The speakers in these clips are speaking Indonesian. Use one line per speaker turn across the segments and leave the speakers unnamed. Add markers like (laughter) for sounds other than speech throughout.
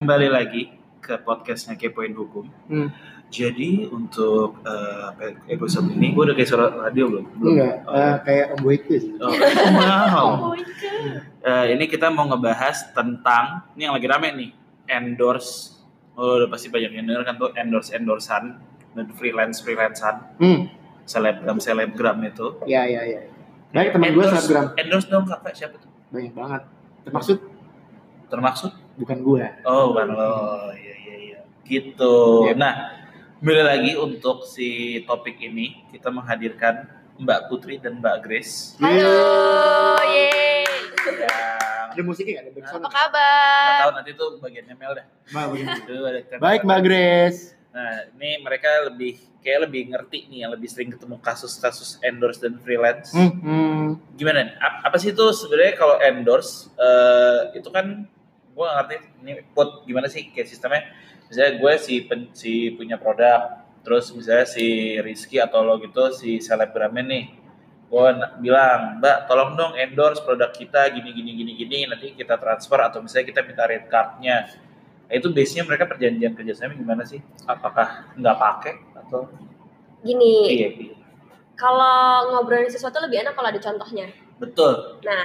kembali lagi ke podcastnya Kepoin Hukum.
Hmm.
Jadi untuk eh, episode ini, gue udah kayak suara radio belum? Belum.
Enggak,
Oh.
eh, kayak Om Boyke sih.
Oh, oh,
(laughs)
mahal.
Oh, itu.
Eh, ini kita mau ngebahas tentang ini yang lagi rame nih, endorse. Oh, udah pasti banyak yang denger kan tuh endorse endorsean dan freelance freelancean,
Hmm,
selebgram selebgram itu.
ya ya ya. Banyak teman gue
Endorse-
selebgram
Endorse dong kakak siapa tuh?
banyak banget. Termaksud
Termaksud?
bukan gue.
Oh, bukan lo. Iya, iya, iya. Gitu.
Iya.
Nah, kembali lagi untuk si topik ini, kita menghadirkan Mbak Putri dan Mbak Grace.
Halo, yeay.
Yang
Iya. Ada musiknya nggak? Ada backsound?
Apa
nggak tahu
kabar?
nanti tuh bagiannya Mel dah.
Mbak, begini.
Dulu ada tema-
Baik Mbak Grace.
Nah, ini mereka lebih kayak lebih ngerti nih, yang lebih sering ketemu kasus-kasus endorse dan freelance.
Hmm, hmm.
Gimana? nih? Ap- Apa sih itu sebenarnya kalau endorse eh, itu kan gue ngerti ini quote gimana sih kayak sistemnya? Misalnya gue si pen- si punya produk, terus misalnya si Rizky atau lo gitu si selebgramnya nih, gue bilang Mbak tolong dong endorse produk kita gini gini gini gini nanti kita transfer atau misalnya kita minta rate cardnya. Nah, itu biasanya mereka perjanjian kerjasama gimana sih? Apakah nggak pakai atau
Gini,
iya iya.
kalau ngobrolin sesuatu lebih enak kalau ada contohnya.
betul.
Nah,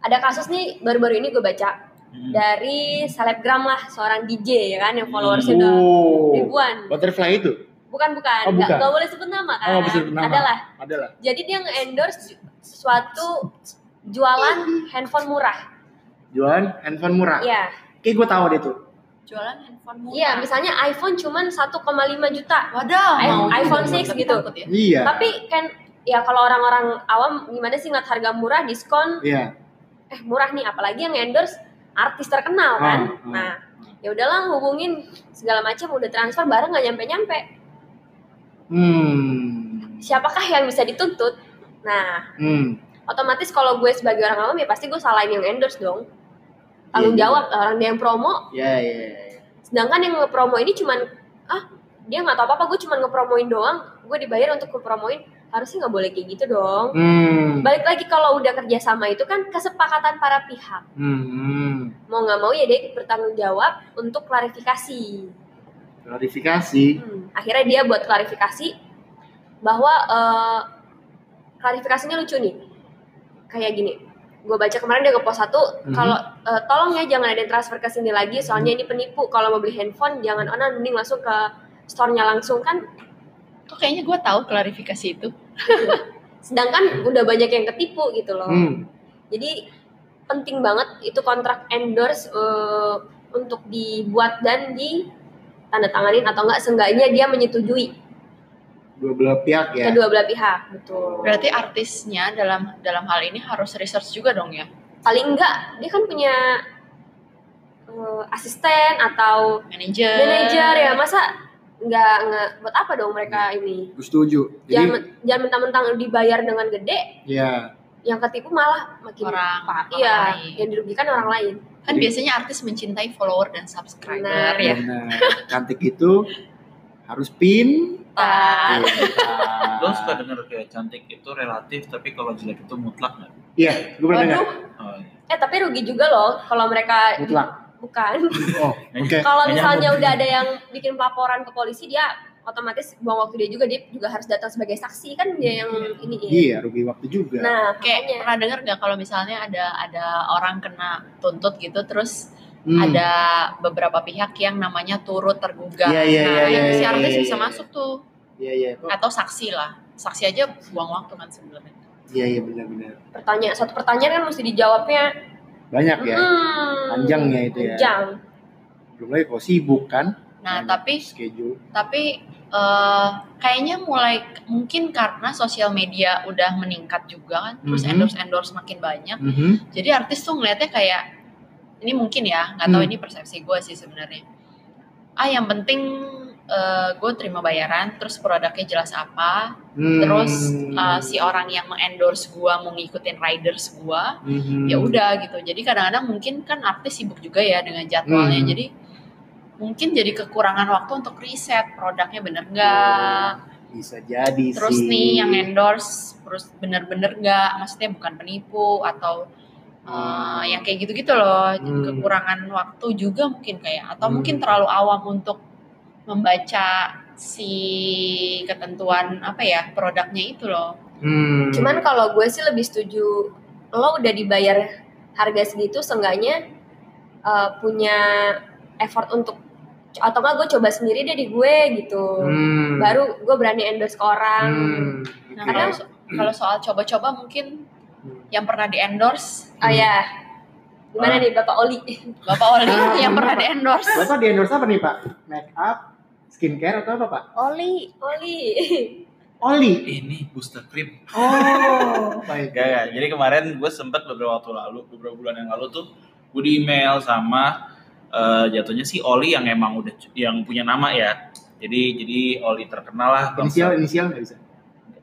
ada kasus nih baru-baru ini gue baca
Hmm.
dari selebgram lah seorang DJ ya kan yang followersnya udah
Oh.
ribuan.
Butterfly itu?
Bukan bukan,
Oh,
nggak
bukan.
nggak boleh sebut nama kan?
Oh, nggak boleh sebut nama.
Adalah.
Adalah.
Jadi dia nge-endorse ju- sesuatu jualan handphone murah.
Jualan handphone murah.
Iya.
Kayak gue tahu deh tuh.
jualan handphone murah.
Iya, misalnya iPhone cuman 1,5 juta.
Wadah,
I-
mau
iPhone 6
juga, tapi
gitu.
Iya. takut ya.
Iya.
Tapi kan ya kalau orang-orang awam gimana sih ngeliat harga murah diskon
Iya.
eh murah nih apalagi yang endorse artis terkenal kan.
Hmm, hmm.
Nah, ya udahlah hubungin segala macam udah transfer barang nggak nyampe-nyampe.
Hmm.
Siapakah yang bisa dituntut? Nah,
Hmm.
otomatis kalau gue sebagai orang awam ya pasti gue salahin yang endorse dong. Tanggung
Iya, iya.
jawab orang dia yang promo,
Ya ya. ya.
sedangkan yang ngepromo ini cuman ah dia nggak tahu apa-apa, gue cuman ngepromoin doang, gue dibayar untuk ngepromoin, harusnya nggak boleh kayak gitu dong.
Hmm.
balik lagi kalau udah kerjasama itu kan kesepakatan para pihak
Hmm. hmm.
mau nggak mau ya dia ikut bertanggung jawab untuk klarifikasi
Klarifikasi.
Hmm, akhirnya dia buat klarifikasi bahwa eh, klarifikasinya lucu nih kayak gini gue baca kemarin dia ngepost satu
Mhm.
kalau eh, tolong ya jangan ada yang transfer ke sini lagi soalnya
Hmm.
ini penipu kalau mau beli handphone jangan online mending langsung ke store-nya langsung kan
Kok kayaknya gue tahu klarifikasi itu.
sedangkan udah banyak yang ketipu gitu loh
Hmm.
Jadi penting banget itu kontrak endorse eh, untuk dibuat dan ditandatanganin atau enggak seenggaknya dia menyetujui
Dua belah pihak ya.
kedua belah pihak. Betul.
Berarti artisnya dalam dalam hal ini harus research juga dong ya,
paling enggak dia kan punya eh, asisten atau
manajer.
manajer ya masa nggak nggak buat apa dong mereka ini
Gue setuju. Hmm.
jangan
Jadi,
men- jangan mentang-mentang dibayar dengan gede
ya.
yang ketipu malah makin
Orang,
parah.
orang
iya
lain.
yang dirugikan orang lain
Kan biasanya artis mencintai follower dan subscriber
Benar.
ya.
Benar. Cantik itu harus pin. Iya,
Pak.
Lo suka denger kayak cantik itu relatif, tapi kalau jelek itu mutlak nggak?
Iya, gue pernah dengar.
Waduh,
Oh, iya.
eh tapi rugi juga loh kalau mereka di-
Mutlak.
bukan
Oh, oke.
kalau
Nggak
misalnya
nyambung.
udah ada yang bikin pelaporan ke polisi dia otomatis buang waktu dia juga dia juga harus datang sebagai saksi kan dia yang ini
Iya, rugi waktu juga.
nah
kayak
makanya
pernah dengar nggak kalau misalnya ada ada orang kena tuntut gitu, terus
Hmm.
ada beberapa pihak yang namanya turut tergugat.
Iya, iya,
nah,
iya,
si
iya,
artis
iya,
bisa
iya.
masuk tuh,
Iya, iya. Kok-
atau saksi lah. Saksi aja buang waktu kan sebenarnya.
Iya, iya benar-benar.
pertanyaan satu pertanyaan kan mesti dijawabnya
Banyak ya.
hmm,
Panjang ya itu ya.
panjang
Belum lagi kalau sibuk kan. Banyak
Nah, tapi
schedule.
tapi eh, kayaknya mulai mungkin karena sosial media udah meningkat juga kan terus
Mhm.
endorse endorse makin banyak
Mhm.
jadi artis tuh ngelihatnya kayak ini mungkin ya nggak tahu
Hmm.
ini persepsi gue sih sebenarnya ah yang penting gue terima bayaran terus produknya jelas apa
Hmm.
terus eh, si orang yang mengendorse gue mau ngikutin riders gue
Mhm.
ya udah gitu jadi kadang-kadang mungkin kan artis sibuk juga ya dengan jadwalnya
Hmm.
jadi mungkin jadi kekurangan waktu untuk riset produknya bener nggak
bisa jadi
terus
sih.
nih yang endorse terus bener-bener nggak maksudnya bukan penipu atau Eh, yang kayak gitu-gitu loh
Hmm.
kekurangan waktu juga mungkin kayak atau
Hmm.
mungkin terlalu awam untuk membaca si ketentuan apa ya produknya itu loh
Hmm.
Cuman kalau gue sih lebih setuju lo udah dibayar harga segitu seenggaknya eh, punya effort untuk atau enggak gue coba sendiri deh di gue gitu.
Hmm.
Baru gue berani endorse ke orang.
Hmm.
kan. nah
Oke.
kalau so- kalau soal coba-coba mungkin
Hmm.
yang pernah di endorse
Oh ya. Gimana
Ah.
nih Bapak Oli?
bapak Oli (laughs) yang pernah di endorse
Bapak di endorse apa nih Pak? Make up, skincare atau apa Pak?
Oli, Oli.
Oli.
Ini booster cream.
Oh, baik.
Gak, gak. Jadi kemarin gue sempet beberapa waktu lalu, beberapa bulan yang lalu tuh gue di email sama eh, jatuhnya si Oli yang emang udah yang punya nama ya. Jadi jadi Oli terkenal lah.
Inisial inisial nggak bisa.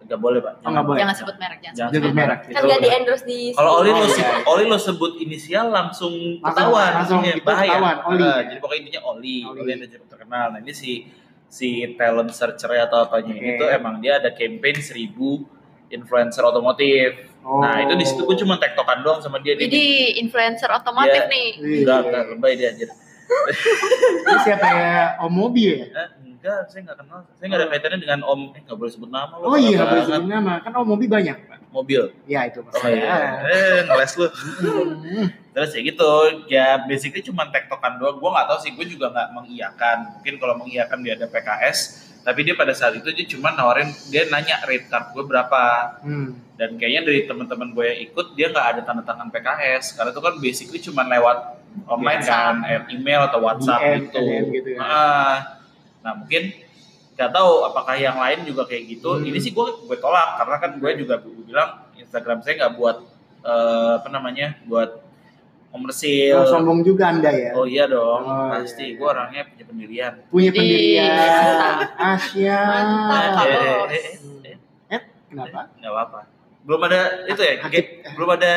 Gak boleh pak.
Oh nggak boleh.
jangan sebut merek jangan
Jangan
Jangan
sebut
merek.
merek.
Kan
Itu
gak di
udah.
endorse di
Kalau Oli lo
Oh,
sebut,
iya.
Oli lo sebut inisial langsung
Langsung-
ketahuan,
langsung
Iya,
itu ketahuan, Oli.
Eh, jadi pokoknya intinya Oli,
Oli.
Oli, yang cukup terkenal. Nah ini si si talent searcher atau apanya
Oke.
ini tuh emang dia ada campaign 1000 influencer otomotif.
Oh.
Nah itu di situ gue cuma tektokan doang sama dia. Dia
jadi influencer otomotif
Iya.
nih
Wih.
enggak enggak lebay dia anjir.
Oh, Ini siapa ya? Om Mobi ya?
Eh, enggak, saya enggak kenal. Saya enggak ada kaitannya dengan Om. Eh, enggak boleh sebut nama lo.
Oh iya, nggak boleh
banget.
sebut nama. Kan Om Mobi banyak. Pak.
Mobil.
Ya itu
Oh iya. Eh, ngeles lu.
Hmm.
Terus ya gitu, ya basically cuma tektokan doang. Gue nggak tahu sih, gue juga nggak mengiyakan. Mungkin kalau mengiyakan dia ada PKS, tapi dia pada saat itu dia cuma nawarin, dia nanya rate card gue berapa.
Hmm.
Dan kayaknya dari teman-teman gue yang ikut, dia nggak ada tanda tangan PKS. Karena itu kan basically cuma lewat online kan, eh, email atau WhatsApp
DM,
gitu.
DM gitu ya.
Ah. nah mungkin nggak tahu apakah yang lain juga kayak gitu.
Hmm.
Ini sih gue gue tolak karena kan gue juga bu- bilang Instagram saya nggak buat eh, apa namanya buat komersil.
Nah, sombong juga anda ya.
Oh iya dong,
Oh,
pasti
iya,
gue
iya.
orangnya punya pendirian.
Punya
Di-
pendirian. Asia.
Mantap. Ah,
Eh,
bos.
eh, eh, eh,
Kenapa?
nggak apa-apa. Belum ada itu ya,
Hakik-
kayak- belum ada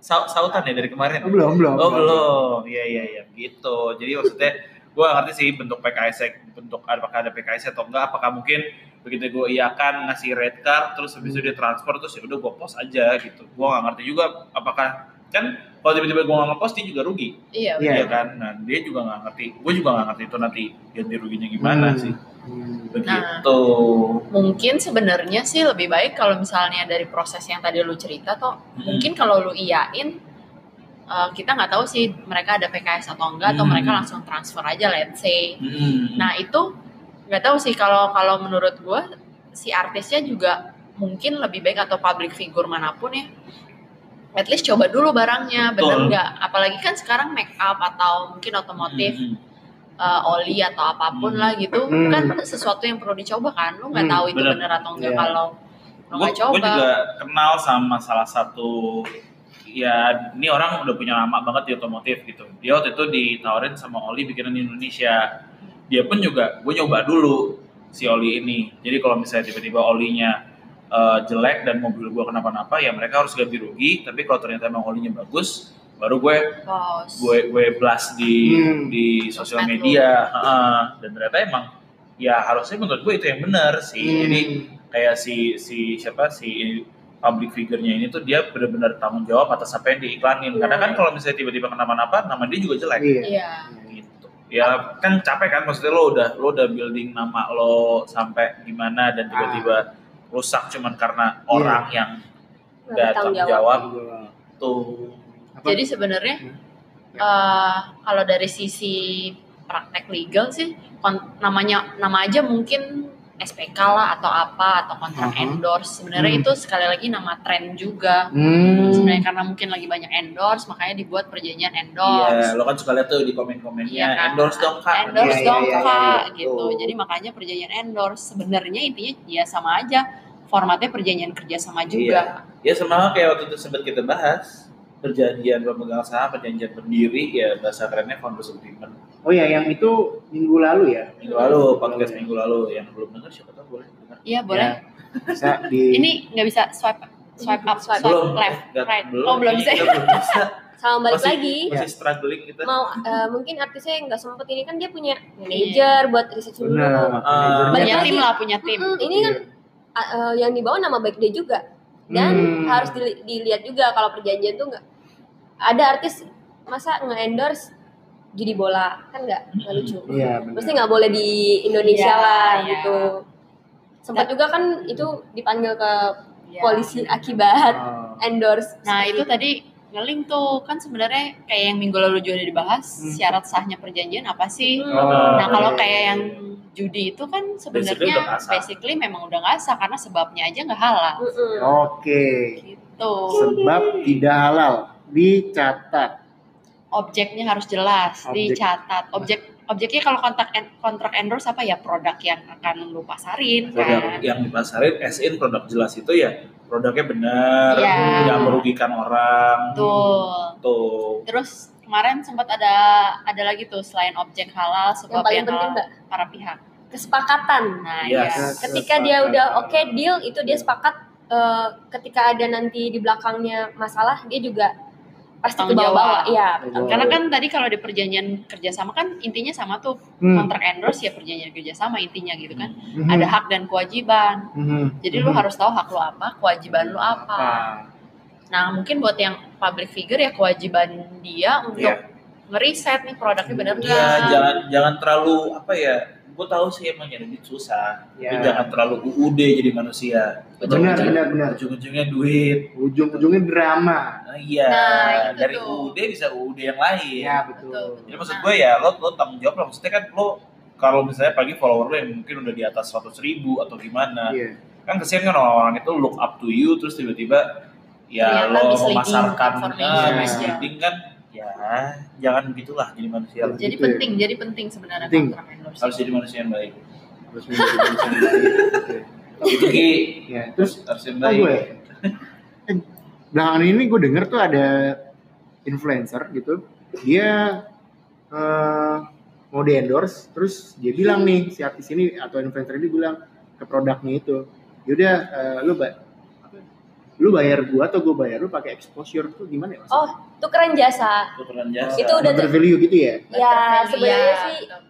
sau- sautan ya dari kemarin.
Oh, belum belum.
Oh belum, iya iya iya gitu. Jadi maksudnya gue ngerti sih bentuk PKS -nya, bentuk apakah ada PKS -nya atau enggak, apakah mungkin begitu gue iakan ngasih red card terus habis itu dia
Hmm.
transfer terus ya udah gue post aja gitu. Gue nggak ngerti juga apakah kan kalau tiba-tiba gue nggak ngepost dia juga rugi,
iya
Iya.
iya kan? Nah dia juga nggak ngerti, gue juga nggak ngerti itu nanti ganti ruginya gimana
Hmm.
sih.
Nah.
Hmm.
Begitu.
mungkin sebenarnya sih lebih baik kalau misalnya dari proses yang tadi lu cerita toh
Hmm.
mungkin kalau lu iyain eh, kita nggak tahu sih mereka ada PKS atau enggak atau
Hmm.
mereka langsung transfer aja let's say
Hmm.
nah itu nggak tahu sih kalau kalau menurut gue si artisnya juga mungkin lebih baik atau public figure manapun ya at least coba dulu barangnya bener
Betul.
nggak apalagi kan sekarang make up atau mungkin otomotif
Hmm.
eh, oli atau apapun
Hmm.
lah gitu
Hmm.
kan sesuatu yang perlu dicoba kan lu nggak
Hmm,
tahu itu
bener.
bener atau enggak
Iya.
kalau lu
gue
nggak coba
juga kenal sama salah satu ya ini orang udah punya lama banget di otomotif gitu dia waktu itu ditawarin sama Oli bikinan Indonesia dia pun juga gue nyoba dulu si Oli ini jadi kalau misalnya tiba-tiba Olinya eh, jelek dan mobil gue kenapa-napa ya mereka harus ganti rugi tapi kalau ternyata emang Olinya bagus baru gue
Pos.
gue gue blast di
Hmm.
di sosial
Sosmed lu.
media heeh. dan ternyata emang ya harusnya menurut gue itu yang benar sih
Hmm.
jadi kayak si si siapa si public figure-nya ini tuh dia benar-benar tanggung jawab atas apa yang diiklanin. Karena kan kalau misalnya tiba-tiba kenapa-napa, nama dia juga jelek
Iya.
iya
gitu. Ya kan capek kan maksudnya lo udah lo udah building nama lo sampai gimana dan
Ah.
tiba-tiba rusak cuman
Iya.
karena orang yang gak
Nggak bertanggung
tanggung jawab tuh.
Apa?
jadi sebenarnya
Hmm.
eh, kalau dari sisi praktek legal sih kon- namanya nama aja mungkin SPK lah atau apa atau kontrak
Mhm.
endorse sebenarnya
Hmm.
itu sekali lagi nama tren juga
Hmm.
sebenarnya karena mungkin lagi banyak endorse makanya dibuat perjanjian endorse
Iya, lo kan suka lihat tuh di komen-komennya
Iya, Kak.
endorse dong kak.
endorse
Iya,
dong
iya,
kak
iya, iya.
gitu
Betul.
jadi makanya perjanjian endorse sebenarnya intinya ya sama aja formatnya perjanjian kerja sama juga
Ya sama kayak waktu itu sempat kita bahas perjanjian pemegang saham, perjanjian pendiri ya bahasa kerennya founders agreement.
Oh ya, yang itu minggu lalu ya.
minggu lalu podcast minggu lalu yang belum dengar siapa tahu boleh dengar
iya boleh
Ya, bisa di
(laughs) ini nggak bisa swipe swipe up swipe
belum
left
nggak-
right
belum
oh belum
Ini
Iya. bisa
kita belum
(laughs)
bisa
Sama balik
Masih-
lagi.
masih struggling kita
Mau eh, mungkin artisnya yang nggak sempet ini kan dia punya
Iya.
manajer buat riset dulu.
Benar.
Ah.
manajernya
punya
Banyak
kan-
tim lah punya tim
Mm-mm, ini kan ah, eh, yang dibawa nama baik dia juga dan
Hmm.
harus dili- dilihat juga kalau perjanjian tuh nggak ada artis masa nge-endorse judi bola kan nggak nggak lucu
Iya, benar.
pasti nggak boleh di Indonesia
Iya,
lah
iya.
gitu sempat juga kan itu dipanggil ke
Iya.
polisi akibat
Ah.
Oh.
endorse
Nah
seperti
itu tadi ngeling tuh kan sebenarnya kayak yang minggu lalu juga udah dibahas
Hmm.
syarat sahnya perjanjian apa sih?
Hmm.
Oh,
Nah kalau
iya,
kayak
iya,
yang
iya.
judi itu kan
Basically udah
sebenarnya
nggak sah.
basically, memang udah nggak sah karena sebabnya aja nggak halal
Mm-mm.
Oke.
gitu.
Sebab tidak halal dicatat.
Objeknya harus jelas
Objek.
dicatat. Objek objeknya kalau kontak en- kontrak endorse apa ya produk yang akan lu pasarin
produk
kan?
yang dipasarin as in produk jelas itu ya produknya benar
Iya.
tidak merugikan orang
Tuh.
tuh
Terus kemarin sempat ada ada lagi tuh selain objek halal
yang
sebab
paling
yang,
penting
halal
mbak
para pihak.
kesepakatan
Nah,
Yes.
iya.
ketika dia udah oke deal itu dia sepakat eh, ketika ada nanti di belakangnya masalah dia juga pasti ke
Tanggung
bawah-bawah
jawab.
ya
Karena kan tadi kalau di perjanjian kerjasama kan intinya sama tuh
Hmm.
kontrak endorse ya perjanjian kerjasama intinya gitu kan. Ada hak dan kewajiban.
Hmm.
Jadi lu harus tahu hak lu apa, kewajiban lu apa. Nah mungkin buat yang public figure ya kewajiban dia untuk
Iya.
ngeriset nih produknya bener
Iya,
nggak.
ya jangan jangan terlalu apa ya gue tahu sih emang nyari duit susah
Ya.
tapi jangan terlalu UUD jadi manusia
Benar,
Ujung-
benar, benar.
ujung-ujungnya duit
Ujung-ujungnya drama.
nah, iya
Nah, itu
dari
tuh.
UUD bisa UUD yang lain
Iya,
Betul,
betul.
jadi maksud gue ya lo lo tanggung jawab lah maksudnya kan lo kalau misalnya pagi follower lo yang mungkin udah di atas 100 ribu atau gimana
Iya.
kan kesian kan orang-orang itu look up to you terus tiba-tiba ya
Ternyata
lo
misleading
memasarkan eh,
information
aja.
misleading kan ya jangan begitulah jadi manusia lah.
Gitu
Jadi
ya.
penting, jadi penting sebenarnya
Penting.
kontrak endorse.
harus jadi manusia yang
Iya.
baik
Harus menjadi Oke.
itu ki
Iya, terus
harus yang
Oh,
baik
gue. Eh, Belakangan ini gue denger tuh ada influencer gitu. Dia eh, mau di endorse, terus dia bilang nih si artis ini atau influencer ini bilang ke produknya itu, yaudah eh, lu ba- apa? lu bayar gua atau gue bayar lu pakai exposure tuh gimana ya? maksudnya?
oh tukeran jasa
itu peran jasa
itu udah
Number value gitu ya?
Iya,
ya sebenarnya sih
betul.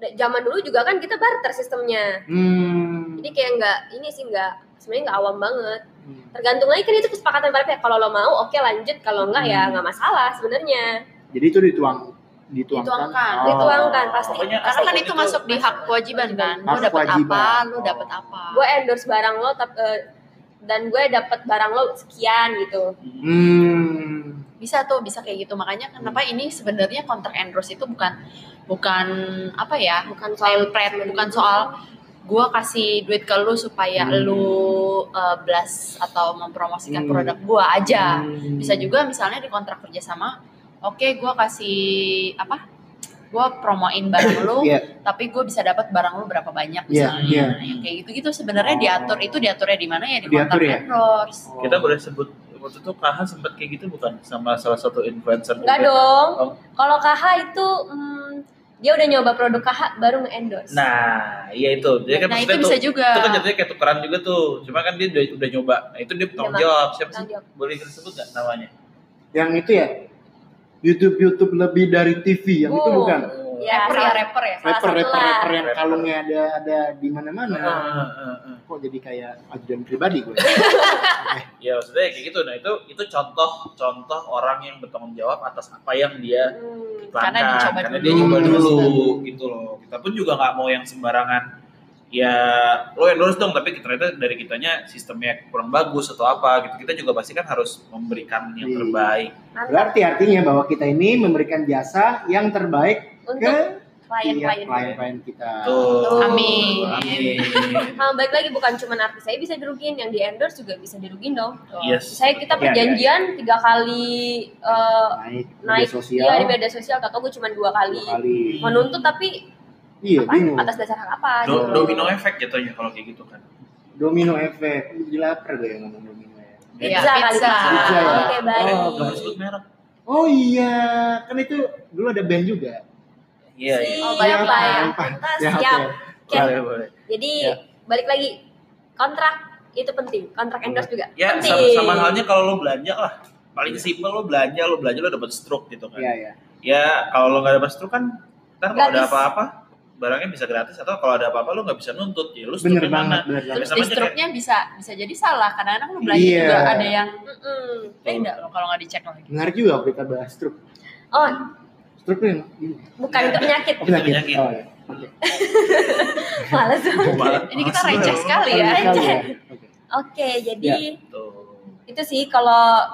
da- zaman dulu juga kan kita barter sistemnya
Hmm.
jadi kayak nggak ini sih nggak sebenarnya nggak awam banget tergantung lagi kan itu kesepakatan para pihak kalau lo mau oke lanjut kalau enggak ya
Hmm.
nggak masalah sebenarnya
Jadi itu dituang dituangkan.
Dituangkan,
Oh.
dituangkan pasti gitu.
Pokoknya
Karena
asal
kan
lo
itu masuk di hak kewajiban kan. Lu
Masuk
dapat apa,
kewajiban.
lu dapat apa.
gue endorse barang lo tap- eh, dan gue dapat barang lo sekian gitu
Hmm.
bisa tuh bisa kayak gitu makanya kenapa ini sebenarnya kontrak endorse itu bukan bukan apa ya
bukan soal
template bukan soal gua kasih duit ke lu supaya
gitu. Hmm.
lu eh, blast atau mempromosikan
Hmm.
produk
Iya,
gua aja
Hmm.
bisa juga misalnya di kontrak kerjasama oke gua kasih apa gua promoin barang
(coughs)
lu
Iya.
tapi gue bisa dapat barang lu berapa
Iya,
banyak misalnya
iya.
Yang kayak gitu gitu sebenarnya
Oh.
diatur itu diaturnya di mana ya di
Diatur
kontrak
ya?
endorse
kita boleh sebut waktu itu Kaha sempat kayak gitu bukan sama salah satu influencer
Enggak
juga?
dong.
Oh.
Kalau KH itu hmm, dia udah nyoba produk KH baru nge-endorse.
nah iya itu jadi kan
nah itu
maksudnya tuh-
bisa juga
itu kan jatuhnya kayak tukeran juga tuh cuma kan dia udah, udah nyoba nah, itu dia tanggung
Iya,
jawab siapa sih
Tanggung jawab.
boleh disebut nggak namanya
Yang itu ya? YouTube YouTube lebih dari TV yang itu
Oh,
bukan?
Iya,
rapper ya
salah-
rapper ya
salah
Rapper
satu
rapper
lah.
rapper yang
Rapper.
kalungnya ada ada di
Nah,
mana-mana.
Heeh, heeh, heeh.
Kok jadi kayak ajudan pribadi gue?
ya maksudnya kayak gitu nah itu itu contoh contoh orang yang bertanggung jawab atas apa yang dia
Hmm.
iklankan
Karena dicoba
karena
dulu.
dia coba
Hmm.
dulu gitu loh kita pun juga nggak mau yang sembarangan ya lo endorse dong tapi ternyata dari kitanya sistemnya kurang bagus atau apa gitu kita juga pasti kan harus memberikan yang
Iya.
terbaik
Berarti artinya bahwa kita ini memberikan jasa yang terbaik
Untuk
ke iya,
klien-klien.
klien kita.
tuh
Amin.
Amin.
Nah, baik lagi bukan cuma artis saya bisa dirugin, yang di-endorse juga bisa dirugin dong.
yes
Saya
Iya, iya,
kita perjanjian tiga kali eh,
Naik media
naik
sosial
dia di media sosial atau gue cuma dua kali.
dua kali.
Menuntut tapi
Iya
apa?
bingung.
atas dasar hak apa?
Do-
gitu.
domino effect jatuhnya kalau kayak gitu kan
Domino efek. Jadi lapar gue yang ngomong domino ya.
Iya,
Pizza kali
pizza.
pizza.
Pizza.
Oke, baik.
oh nggak harus sebut merek
Oh iya, kan itu dulu ada band juga.
iya iya
Siap,
Oh, bayar,
bayar.
bayar.
Tuntas,
Ya,
siap.
oke.
Oke.
boleh boleh
Jadi
Ya.
balik lagi kontrak itu penting, kontrak endorse juga
Ya,
penting.
sama, sama halnya kalau lo belanja lah. Paling simpel lo belanja, lo belanja lo dapat stroke gitu kan.
Iya ya.
Ya, kalau lo nggak dapat stroke kan ntar kalau
Gratis.
ada apa-apa barangnya bisa gratis atau kalau ada apa-apa lu nggak bisa nuntut ya lu stoknya
bener banget
mana Terus-
bener banget
Terus
Sama aja
distruknya bisa bisa jadi salah kadang-kadang lu belanja
Iya.
juga ada yang
Mm-mm.
(laughs)
beda loh kalau nggak dicek lagi.
menarik juga kalau kita bahas truk
Oh,
truk tuh yang
bukan itu
(laughs)
penyakit.
Oh, penyakit.
oh ya oke
Males. Oke,
Ini kita receh sekali
Iya,
ya.
Menarik sekali ya. Oke.
jadi
Tuh.
itu sih kalau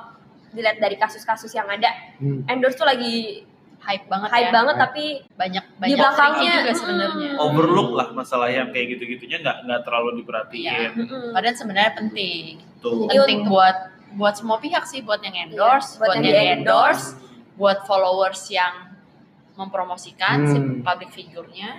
dilihat dari kasus-kasus yang ada,
Hmm.
endorse tuh lagi
Hype banget
hype
ya.
banget
Hype.
tapi
Banyak
di
banyak
belakangnya
juga sebenarnya.
mm,
overlook lah masalah yang kayak gitu-gitunya nggak nggak terlalu diperhatiin
mm-mm.
Padahal sebenarnya penting.
tuh
Iya,
Iya. Penting
untuk-
buat buat semua pihak sih buat yang endorse,
Iya, buat
buat,
yang
yang,
di-endorse.
endorse, buat followers yang mempromosikan si
Hmm.
public figure-nya.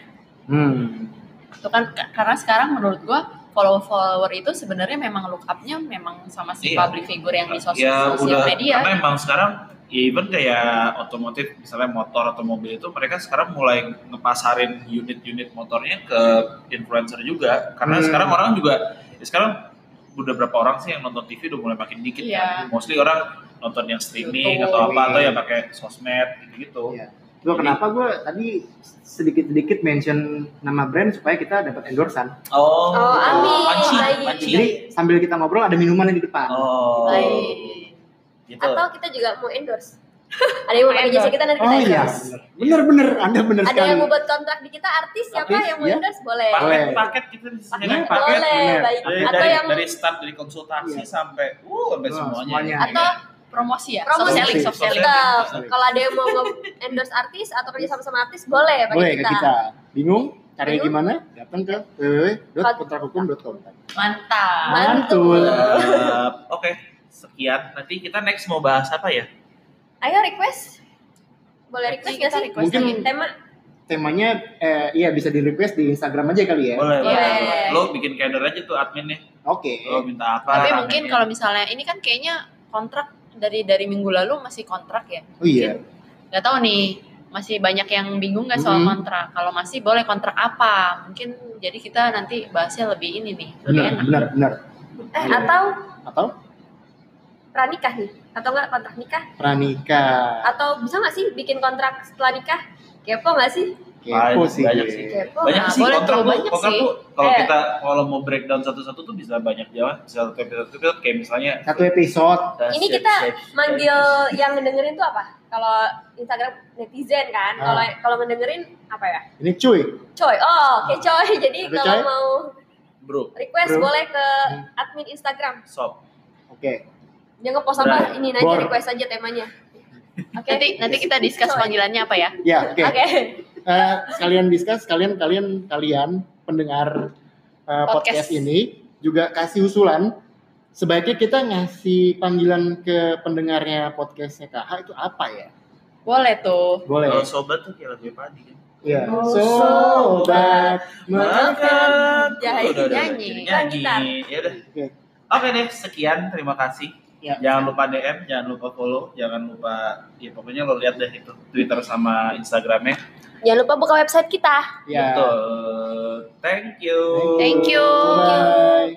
hmm.
Itu kan k- karena sekarang menurut gua follower follower itu sebenarnya memang look up-nya memang sama si
Iya.
public figure yang di sos-
ya
sosial
udah
media.
karena emang sekarang ya even kayak otomotif misalnya motor atau mobil itu mereka sekarang mulai ngepasarin unit-unit motornya ke influencer juga karena
Hmm.
sekarang orang juga ya sekarang udah berapa orang sih yang nonton TV udah mulai makin dikit
Iya.
kan mostly orang nonton yang streaming
YouTube.
atau apa atau ya pakai sosmed gitu
Iya. Gua kenapa gue tadi sedikit-sedikit mention nama brand supaya kita dapat endorsan.
oh
Oh, amin.
panci
Baik.
panci
Jadi sambil kita ngobrol ada minuman yang di depan.
Iya. oh
Baik.
gitu
atau kita juga mau endorse. ada yang mau pakai jasa kita nanti kita
Oh iya,
endorse.
bener-bener, anda bener
Ada
sekali.
yang mau buat kontrak di kita artis siapa
Artis,
yang mau
ya.
endorse boleh.
Boleh.
paket paket kita disediakan
Paket,
paket
boleh.
bener.
Baik.
dari,
Atau
dari,
yang
dari start dari konsultasi
Iya.
sampai uh sampai
Wah,
semuanya,
semuanya.
Atau promosi ya,
Promosi.
soft selling, soft selling.
Tetap,
Sorry.
kalau ada yang mau nge- endorse artis atau kerja sama sama artis boleh pakai
Boleh ke
kita.
kita. Bingung? Caranya
Bingung?
gimana? Datang ke www.kontrahukum.com.
Mantap.
Mantul.
Eh, oke sekian nanti kita next mau bahas apa ya
Ayo request. Boleh request
Nanti
nggak
kita
sih?
request
Mungkin-
lagi.
tema eh,
Temanya eh, iya bisa di request di Instagram aja kali ya. Oke.
boleh
Boleh.
boleh. lo bikin kalender aja tuh adminnya lo minta apa
Tapi
ramennya.
mungkin kalau misalnya ini kan kayaknya kontrak dari dari minggu lalu masih kontrak ya.
Oh iya.
Gak tahu nih masih banyak yang bingung nggak soal
Mhm.
kontrak. Kalau masih boleh kontrak apa? Mungkin jadi kita nanti bahasnya lebih ini nih. Lebih
Benar,
enak.
benar, benar.
eh
Iya.
atau
Atau
pranikah nih atau nggak kontrak nikah
pranikah.
atau bisa nggak sih bikin kontrak setelah nikah? Kepo nggak sih?
Kepo
Banyak-
sih.
banyak sih.
Kepo.
banyak
Nah,
sih
boleh
kontrak
tuh,
tuh
banyak
kontrak
sih.
tuh kalau
Eh.
kita kalau mau breakdown satu-satu tuih bisa banyak jalan bisa satu episode episode kayak misalnya Nah,
Satu episode.
Ini kita manggil yang ngedengerin tuh apa? Kalau Instagram netizen kan, kalau
Ah.
kalau ngedengerin apa ya?
Ini cuy.
Coy, oh oke coy. (laughs) Jadi
Oke,
kalau
Ah. coy.
mau
bro
request
Bro.
boleh ke admin Instagram.
sob
Oke.
Jangan post apa,
Bro.
ini aja
Bor.
request aja temanya. Oke.
Nanti nanti kita discuss
Sorry.
panggilannya apa ya?
Ya, oke.
Oke.
Eh, sekalian diskus, kalian kalian kalian pendengar eh, podcast.
Podcast.
ini juga kasih usulan sebaiknya kita ngasih panggilan ke pendengarnya podcastnya KH itu apa ya?
Boleh tuh.
Boleh.
kalau sobat tuh kayak lagu padi kan
ya.
Oh,
Sobat makan.
makan
Jahit
Udah, udah, udah.
nyanyi.
Jadi
Kan
nyanyi.
gitar.
ya udah
Oke.
Oke deh, sekian. Terima kasih.
Ya.
Jangan lupa DM, jangan lupa follow, jangan lupa ya pokoknya lo lihat deh itu Twitter sama Instagramnya.
Jangan lupa buka website kita.
Ya.
Betul. Thank you.
Thank you.
Bye.